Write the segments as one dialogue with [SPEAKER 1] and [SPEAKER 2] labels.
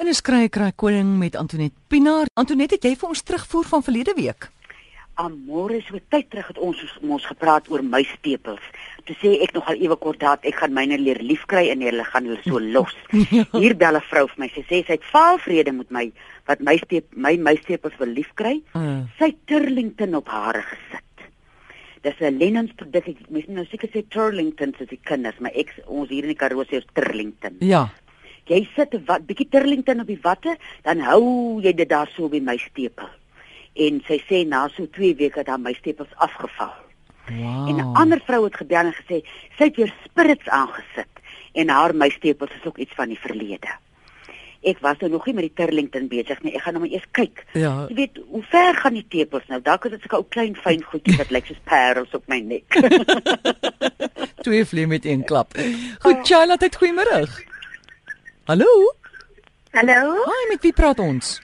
[SPEAKER 1] En ons kry kry koning met Antoinette Pinaar. Antoinette, het jy vir ons terugvoer van verlede week?
[SPEAKER 2] Amore so tyd terug het ons ons gepraat oor muispepels. Toe sê ek nogal ewe kort dat ek gaan myne leer liefkry en hulle gaan hulle so los.
[SPEAKER 1] Ja.
[SPEAKER 2] Hier bel 'n vrou vir my. Sy sê sy het vaal vrede met my wat my steep my muispepels wil liefkry.
[SPEAKER 1] Uh.
[SPEAKER 2] Sy Turlington op hare gesit. Dis 'n Lennons produk. Ek mens moet nou seker sê Turlington as ek kinders, maar ek ons hier in die Karoo sê ons Turlington.
[SPEAKER 1] Ja.
[SPEAKER 2] Jy sit 'n wat bietjie Turlington op die watte, dan hou jy dit daar so by my stepel. En sy sê na so 2 weke het haar my stepels afgeval.
[SPEAKER 1] Wow.
[SPEAKER 2] En 'n ander vrou het gebel en gesê sy het weer spirits aangesit en haar my stepels is ook iets van die verlede. Ek was nou nog nie met die Turlington besig nie. Ek gaan nou maar eers kyk.
[SPEAKER 1] Ja.
[SPEAKER 2] Jy weet, hoe ver gaan die tepels nou? Dalk is dit seker ou klein fyn goedjies wat lyk soos parels op my nek.
[SPEAKER 1] Twee vlieg met een klap. Goed, Charlotte, het goeiemôre. Hallo.
[SPEAKER 3] Hallo,
[SPEAKER 1] Hi, met wie praat ons?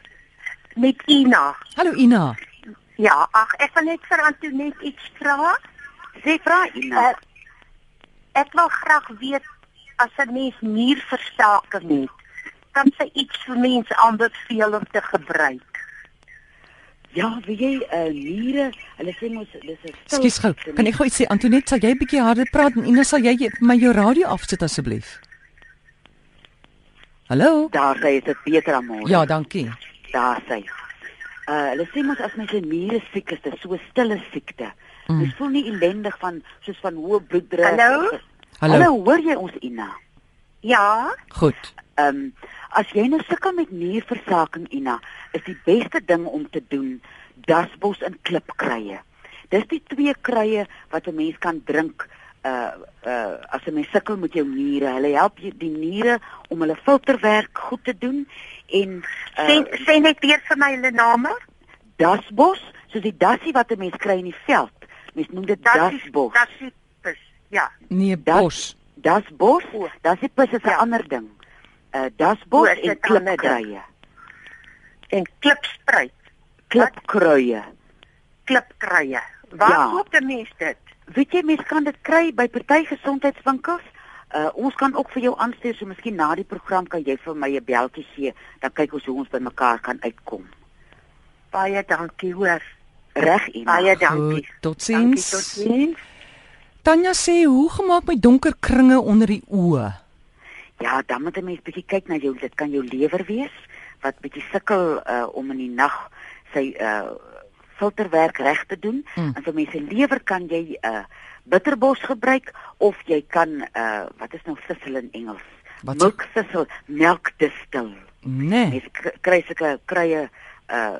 [SPEAKER 3] met Ina.
[SPEAKER 1] Hallo Ina.
[SPEAKER 3] Ja, ag, ek wil net vir Antoinette iets vra.
[SPEAKER 2] Sê vra Ina.
[SPEAKER 3] Ek, ek wil graag weet as 'n mens nierversaking het, kan sy iets vir mense aanbeveel om te gebruik?
[SPEAKER 2] Ja, weet jy, uh, niere, hulle sê mos dis 'n stil-
[SPEAKER 1] Skus gou. Kan ek gou iets sê? Antoinette, sal jy bietjie harder praat en Ina, sal jy jy- my jou radio afsit asseblief? Hallo?
[SPEAKER 2] Daar sê dit beter aan môre.
[SPEAKER 1] Ja, dankie.
[SPEAKER 2] daar sy. Uh hulle sê mos as mens 'n niere siek is, dis so 'n stille siekte. Mm. Jy voel nie ellendig van soos van hoë bloeddruk.
[SPEAKER 3] Hallo?
[SPEAKER 1] Hallo.
[SPEAKER 2] Hallo, hoor jy ons Ina?
[SPEAKER 3] Ja,
[SPEAKER 1] Goed.
[SPEAKER 2] Ehm um, as jy nou sukkel met nierversaking Ina, is die beste ding om te doen dasbos en klipkruie. Dis die twee kruie wat 'n mens kan drink uh uh as 'n mens sukkel met jou niere. Hulle help jou- die niere om hulle filterwerk goed te doen en uh,
[SPEAKER 3] sê sê net weer vir my hulle name.
[SPEAKER 2] dasbos, soos die dassie wat 'n mens kry in die veld. Mens noem dit dasbos.
[SPEAKER 3] Das is dis. Ja.
[SPEAKER 1] Nee,
[SPEAKER 2] Dat-
[SPEAKER 1] Bos.
[SPEAKER 2] Dasbos,
[SPEAKER 3] O.
[SPEAKER 2] das is presies 'n
[SPEAKER 3] Ja.
[SPEAKER 2] ander ding. Uh dasbos
[SPEAKER 3] O, is
[SPEAKER 2] en
[SPEAKER 3] dit 'n ander ding?
[SPEAKER 2] klipkruie.
[SPEAKER 3] En klipspruit,
[SPEAKER 2] Klipkruie.
[SPEAKER 3] klipkruie. Waar
[SPEAKER 2] Ja.
[SPEAKER 3] ja. koop 'n mens dit?
[SPEAKER 2] Weet jy mens kan dit kry by party gesondheidswinkels. Uh ons kan ook vir jou aanstuur, so miskien na die program kan jy vir my 'n beltjie gee, dan kyk ons hoe ons by mekaar kan uitkom.
[SPEAKER 3] Baie dankie hoor.
[SPEAKER 2] Reg, Ina.
[SPEAKER 3] Baie dankie.
[SPEAKER 1] Goed, tot
[SPEAKER 3] Dankie,
[SPEAKER 1] ziens.
[SPEAKER 3] tot sins.
[SPEAKER 1] Tanya sê hoe gemaak met donker kringe onder die oë.
[SPEAKER 2] Ja, dan moet 'n mens bietjie kyk na jou, dit kan jou lewer wees wat bietjie sukkel uh, om in die nag sy uh filterwerk reg te doen.
[SPEAKER 1] Mm.
[SPEAKER 2] Mm. En vir mense lewer kan jy uh bitterbos gebruik of jy kan uh wat is nou sissel in Engels?
[SPEAKER 1] Wat se-
[SPEAKER 2] Melksissel, melkdistil.
[SPEAKER 1] Nee.
[SPEAKER 2] Mense k- kry sulke krye uh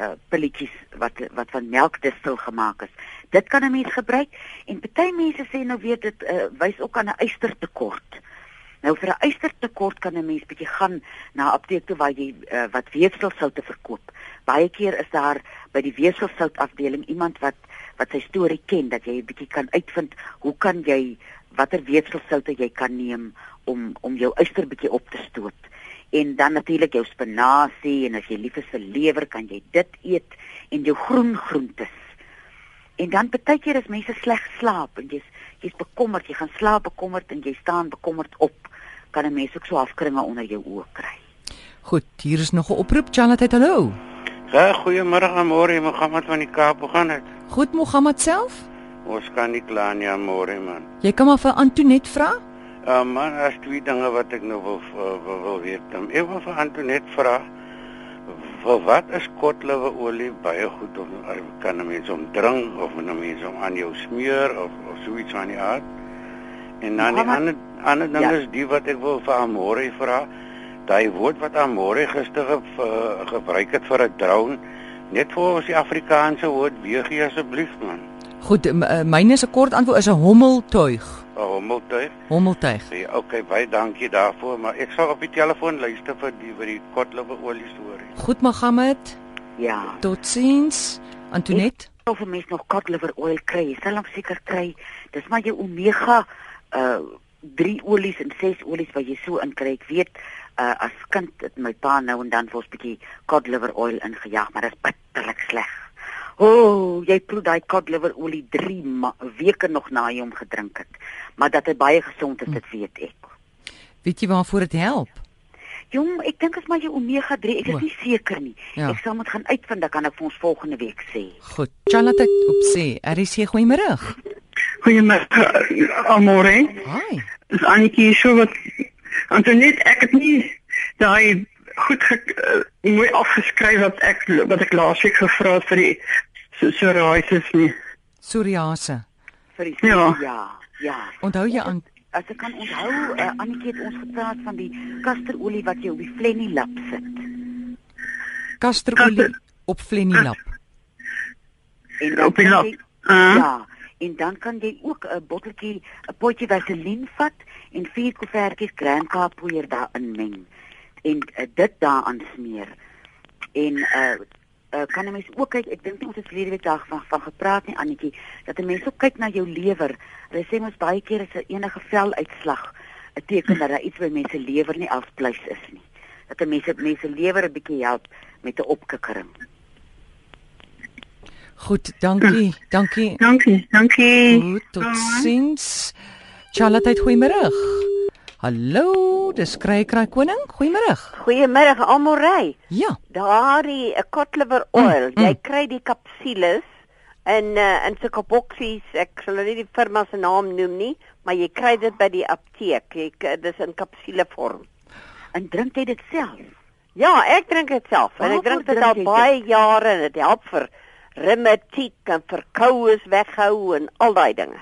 [SPEAKER 2] uh pilletjies wat wat van melkdistil gemaak is. Dit kan 'n mens gebruik en party mense sê nou weet dit uh, wys ook aan 'n ystertekort. Nou vir 'n ystertekort kan 'n mens bietjie gaan na 'n apteek toe waar jy uh, wat weefselsoute verkoop. Baie keer is daar by die weefselsout afdeling iemand wat wat sy storie ken dat jy 'n bietjie kan uitvind hoe kan jy watter weefselsoute jy kan neem om om jou yster bietjie op te stoot. En dan natuurlik jou spinasie en as jy lief is vir lewer kan jy dit eet en jou groen groentes. En dan baie keer is mense sleg slaap en jy's jy's bekommerd, jy gaan slaap bekommerd en jy staan bekommerd op. Kan 'n mens ook so afkringe onder jou oë kry.
[SPEAKER 1] Goed, hier is nog 'n oproep. Janet, het hallo.
[SPEAKER 4] Ja, goeiemôre Amore, Mohammed van die Kaap. Hoe gaan dit?
[SPEAKER 1] Goed, Mohammed self?
[SPEAKER 4] Ons kan nie kla nie Amore man.
[SPEAKER 1] Jy kan maar vir Antoinette vra.
[SPEAKER 4] Uh, man, as twee dinge wat ek nou wil wil, wil, wil weet. Dan ek wil vir Antoinette vra vir wat is kotleweolie baie goed om kan 'n mens om drink of kan 'n mens om aan jou smeer of of so iets van die aard. En dan die
[SPEAKER 2] Mohammed?
[SPEAKER 4] ander ander ding
[SPEAKER 2] Ja.
[SPEAKER 4] ja. is die wat ek wil vir Amore vra. Daai woord wat Amore gister ge, ge- gebruik het vir 'n drone, net vir ons die Afrikaanse woord weer gee asseblief man.
[SPEAKER 1] Goed, m- eh, myne se kort antwoord is 'n hommeltuig.
[SPEAKER 4] 'n eh, Hommeltuig.
[SPEAKER 1] Hommeltuig.
[SPEAKER 4] Ja, okay, baie dankie daarvoor, maar ek sal op die telefoon luister vir die vir die kotlewe olie storie.
[SPEAKER 1] Goed, Mohammed.
[SPEAKER 2] Ja.
[SPEAKER 1] Totsiens. Antoinette.
[SPEAKER 2] Of 'n mens nog cod liver oil kry, jy sal hom seker kry. Dis maar jou omega uh 3 olies en 6 olies wat jy so inkry. Ek weet uh as kind het my pa nou en dan vir ons 'n bietjie cod liver oil ingejaag, maar dit is bitterlik sleg. O, oh, jy proe daai cod liver olie 3 weke nog na jy hom gedrink
[SPEAKER 1] Hm.
[SPEAKER 2] het. Maar dat hy baie gesond is, dit weet ek.
[SPEAKER 1] Weet jy waarvoor dit help?
[SPEAKER 2] Jong, ek dink as maar jou omega 3, ek
[SPEAKER 1] O.
[SPEAKER 2] is nie seker nie.
[SPEAKER 1] Ja.
[SPEAKER 2] Ek sal moet gaan uitvind, dan kan ek vir ons volgende week sê.
[SPEAKER 1] Goed, Charlotte, op sê, er RC goeiemôre.
[SPEAKER 5] Goeiemôre almore.
[SPEAKER 1] Hi.
[SPEAKER 5] Dis Anetjie so wat Antonet ek het nie daai goed ge, uh, mooi afgeskryf wat ek wat ek laasweek gevra het vir die so so raises nie.
[SPEAKER 1] Psoriase.
[SPEAKER 2] Vir die
[SPEAKER 5] Ja.
[SPEAKER 2] ja, ja.
[SPEAKER 1] Onthou jy aan
[SPEAKER 2] As ek kan onthou, uh, Annetjie het ons gepraat van die kasterolie wat jy op die flennie lap sit.
[SPEAKER 1] kasterolie op flenilap.
[SPEAKER 2] En dan
[SPEAKER 5] Op die
[SPEAKER 2] kan
[SPEAKER 5] lap.
[SPEAKER 2] jy-
[SPEAKER 5] Uh,
[SPEAKER 2] Ja, en dan kan jy ook 'n botteltjie, 'n potjie vaseline vat en vier koevertjies Grand Kaap poeier daarin meng en uh, dit daaraan smeer. En uh, uh kan 'n mens ook kyk, ek dink nie ons het verlede week daar van, van gepraat nie Annetjie, dat 'n mens ook kyk na jou lewer. Hulle sê mos baie keer is 'n enige veluitslag 'n teken dat daar iets by mense lewer nie afpleis is nie. Dat 'n mens dit mense lewer 'n bietjie help met 'n opkikkering.
[SPEAKER 1] Goed, dankie. Dankie.
[SPEAKER 5] Dankie, dankie.
[SPEAKER 1] Goed, totsiens. Charlotte, goeiemôre. Hallo, dis Kruikry Koning. Goeiemôre.
[SPEAKER 6] Goeiemiddag almorey.
[SPEAKER 1] Ja,
[SPEAKER 6] Daardie
[SPEAKER 2] eh,
[SPEAKER 6] uh, kotlever oil,
[SPEAKER 1] mm.
[SPEAKER 6] mm, jy kry die kapsules in uh, in sulke boksies. Ek sal nou nie die firma se naam noem nie, maar jy kry dit by die apteek. Jy k- dis in kapsulevorm.
[SPEAKER 2] eh, En drink jy dit self?
[SPEAKER 6] Ja, ek drink dit self en ek
[SPEAKER 2] Waarvoor
[SPEAKER 6] drink dit
[SPEAKER 2] drink
[SPEAKER 6] al
[SPEAKER 2] jy
[SPEAKER 6] baie jare en dit help vir reumatiek en verkoues weghou en al daai dinge.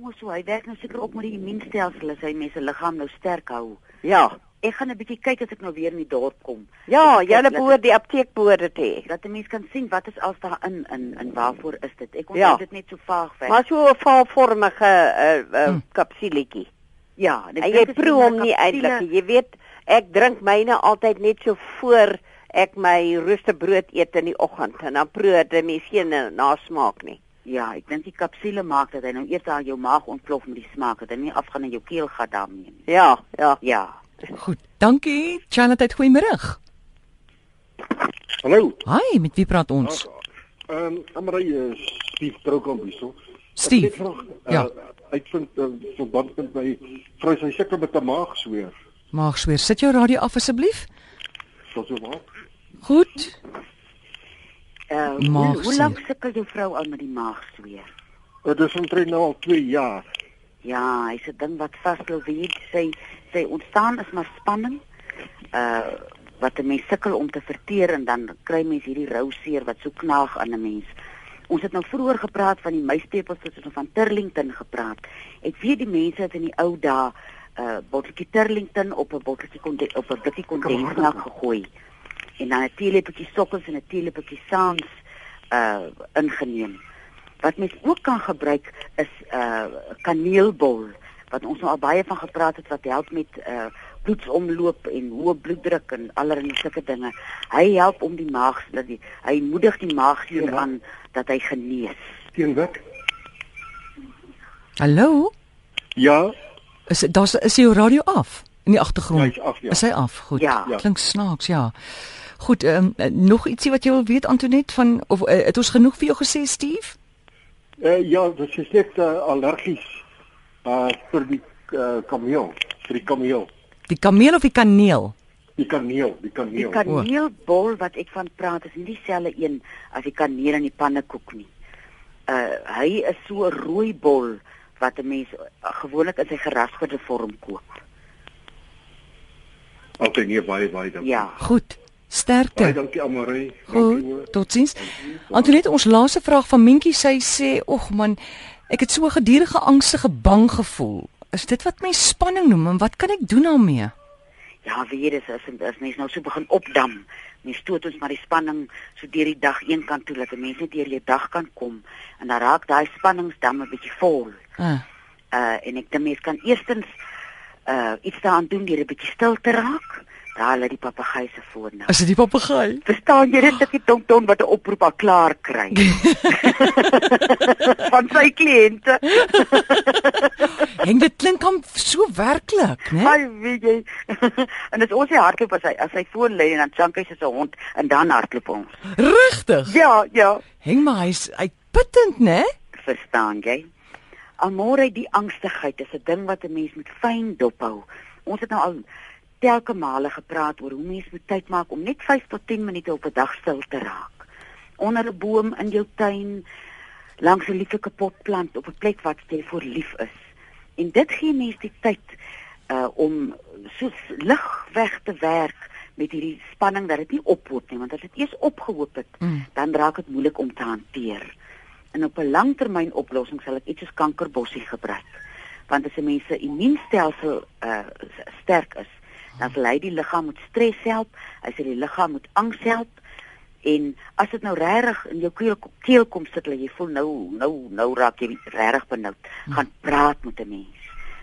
[SPEAKER 2] Moes so, hy werk nou seker op met die immuunstelsel as hy mense liggaam nou sterk hou.
[SPEAKER 6] Ja.
[SPEAKER 2] Ek gaan 'n bietjie kyk as ek nou weer in die dorp kom,
[SPEAKER 6] Ja,
[SPEAKER 2] Ek- ek-
[SPEAKER 6] julle
[SPEAKER 2] ek-
[SPEAKER 6] behoort die apteek behoort dit te hê.
[SPEAKER 2] dat 'n mens kan sien wat is al daarin in en waarvoor is dit. Ek nou onthou
[SPEAKER 6] Ja.
[SPEAKER 2] dit net so vaag weg.
[SPEAKER 6] Maar so 'n valvormige uh, uh,
[SPEAKER 1] Hm.
[SPEAKER 6] kapsuletjie.
[SPEAKER 2] ja, en ek
[SPEAKER 6] En
[SPEAKER 2] dink as
[SPEAKER 6] jy proe
[SPEAKER 2] na
[SPEAKER 6] hom nie
[SPEAKER 2] kapsule-
[SPEAKER 6] eintlik. nie. Jy weet, ek drink myne altyd net so voor ek my roosterbrood eet in die oggend en dan proe dit en mens geen nasmaak nie.
[SPEAKER 2] Ja, ek dink die kapsule maak dat hy nou eers aan jou maag ontplof met die smaak, dat hy nie afgaan in jou keelgat daarmee nie.
[SPEAKER 6] Ja, ja.
[SPEAKER 2] Ja.
[SPEAKER 1] goed. Dankie. Charlotte, goeiemôre.
[SPEAKER 7] Hallo.
[SPEAKER 1] Hi, met wie praat ons?
[SPEAKER 7] Ehm um, Amrey uh, Steve Troukamp hierso.
[SPEAKER 1] Steve. ja.
[SPEAKER 7] ja. Uitvind uh, verband met my vrou sy sukkel met 'n maagsweer.
[SPEAKER 1] Maak sweer, sit jou radio af asseblief.
[SPEAKER 7] Sou so maak.
[SPEAKER 1] Goed.
[SPEAKER 2] Uh, hoe,
[SPEAKER 1] Maagseer.
[SPEAKER 2] hoe lank sukkel jou vrou al met die maagsweer?
[SPEAKER 7] Dit is omtrent nou al 2 jaar.
[SPEAKER 2] Ja, hy's 'n ding wat vasloop hier. Sy sy ontstaan is maar spanning. Uh wat 'n mens sukkel om te verteer en dan kry mens hierdie rou seer wat so knaag aan 'n mens. Ons het nou vroeër gepraat van die muistepels wat ons nou van Turlington gepraat. Ek weet die mense het in die ou dae 'n uh, botteltjie Turlington op 'n botteltjie konde- op 'n blikkie kondensmelk gegooi en dan 'n teelepeltjie sokkels en 'n teelepeltjie saans uh ingeneem. Wat mens ook kan gebruik is uh kaneelbol wat ons nou al baie van gepraat het wat help met uh bloedsomloop en hoë bloeddruk en allerlei sulke dinge. Hy help om die maag dat die hy moedig die maag hier aan dat hy genees.
[SPEAKER 7] Teen wat?
[SPEAKER 1] Hallo.
[SPEAKER 7] Ja,
[SPEAKER 1] Is daar's is jou radio af in die agtergrond?
[SPEAKER 7] Ja, hy's af, ja.
[SPEAKER 1] Is hy af? Goed.
[SPEAKER 2] Ja.
[SPEAKER 7] Ja.
[SPEAKER 1] Klink snaaks, ja. Goed, ehm um, nog ietsie wat jy wil weet Antonet van of uh, het ons genoeg vir jou gesê Steve?
[SPEAKER 7] uh, ja, dit is net uh, allergies uh vir die uh, kameel, vir die kameel.
[SPEAKER 1] Die kameel of die kaneel?
[SPEAKER 7] Die kaneel, die
[SPEAKER 2] Die
[SPEAKER 7] kaneel.
[SPEAKER 2] kaneelbol wat ek van praat is nie dieselfde een as die kaneel in die pannekoek nie. Uh hy is so 'n rooi bol wat 'n mens uh, gewoonlik in sy gerasperde vorm koop.
[SPEAKER 7] Altyd nee baie baie dankie.
[SPEAKER 2] Ja.
[SPEAKER 1] Goed.
[SPEAKER 7] Baie
[SPEAKER 1] Sterkte.
[SPEAKER 7] dankie Amrey.
[SPEAKER 1] Goed. Totsiens. Antonet, ons laaste vraag van Mentjie, sy sê, "Och man, ek het so 'n gedurende angstige bang gevoel. Is dit wat mens spanning noem en wat kan ek doen daarmee?"
[SPEAKER 2] Ja, weer is as as mens nou so begin opdam. Mens stoot ons maar die spanning so deur die dag een kant toe dat 'n mens net deur jou dag kan kom en dan raak daai spanningsdam 'n bietjie vol.
[SPEAKER 1] Ah,
[SPEAKER 2] Uh en ek dink mens kan eerstens uh iets daaraan doen deur 'n bietjie stil te raak. Daar lê die papegaai se voor nou.
[SPEAKER 1] is dit die papegaai?
[SPEAKER 2] Verstaan jy dit stukkie donkton wat 'n oproep al klaar kry? Van sy kliënte.
[SPEAKER 1] Heng dit klink hom so werklik, né?
[SPEAKER 2] Ai, weet jy. en dit is ons hy hardloop as hy as hy voor lê en dan jank hy soos 'n hond en dan hardloop ons.
[SPEAKER 1] Regtig?
[SPEAKER 2] Ja, ja.
[SPEAKER 1] Heng maar hy's uitputtend, né?
[SPEAKER 2] Verstaan jy? Amore, die angstigheid is 'n ding wat 'n mens moet fyn dophou. Ons het nou al
[SPEAKER 6] telke male gepraat oor hoe mens moet tyd maak om net 5 tot 10 minute op 'n dag stil te raak. Onder 'n boom in jou tuin, langs 'n lieflike potplant op 'n plek wat jy voor lief is. En dit gee mens die tyd uh om soos lig weg te werk met hierdie spanning dat dit nie ophoop nie, want as dit eers opgehoop het,
[SPEAKER 1] Mm.
[SPEAKER 6] dan raak dit moeilik om te hanteer. En op 'n langtermyn oplossing sal ek iets soos kankerbossie gebruik. Want as 'n mens se immuunstelsel uh s- sterk is, dan sal hy die liggaam met stres help, hy sal die liggaam met angs help en as dit nou regtig in jou keel, keel kom sit, dat jy voel nou nou nou raak jy regtig benoud, gaan praat met 'n mens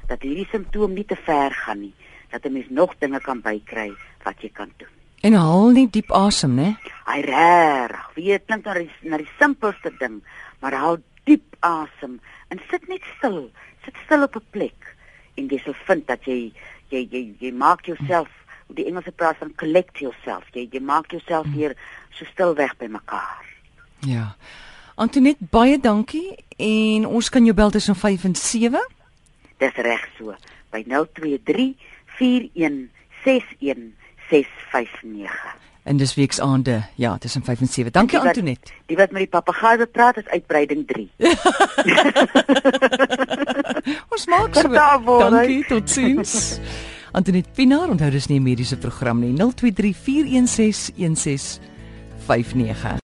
[SPEAKER 6] dat hierdie simptoom nie te ver gaan nie, dat 'n mens nog dinge kan bykry wat jy kan doen.
[SPEAKER 1] En haal nie diep asem, né?
[SPEAKER 6] Hy reg, weet klink na die, na die simpelste ding, maar hou diep asem en sit net stil. Sit stil op 'n plek en jy sal vind dat jy jy jy, jy maak jouself hoe die Engelse praat van collect yourself. Jy jy maak jouself weer so stil weg by mekaar.
[SPEAKER 1] Ja. Antoinette, baie dankie en ons kan jou bel tussen 5 en 7.
[SPEAKER 6] Dis reg so. By 023 41 61 659.
[SPEAKER 1] En dis weksaande, ja, tussen 5 en 7. Dankie
[SPEAKER 6] Die wat-
[SPEAKER 1] Antoinette.
[SPEAKER 6] Die wat met die papegaai bepraat is uitbreiding 3.
[SPEAKER 1] Ons maak so.
[SPEAKER 6] Vertel word hy.
[SPEAKER 1] Dankie, totsiens. Antoinette Pinaar, onthou dis nie 'n mediese program nie. 0234161659.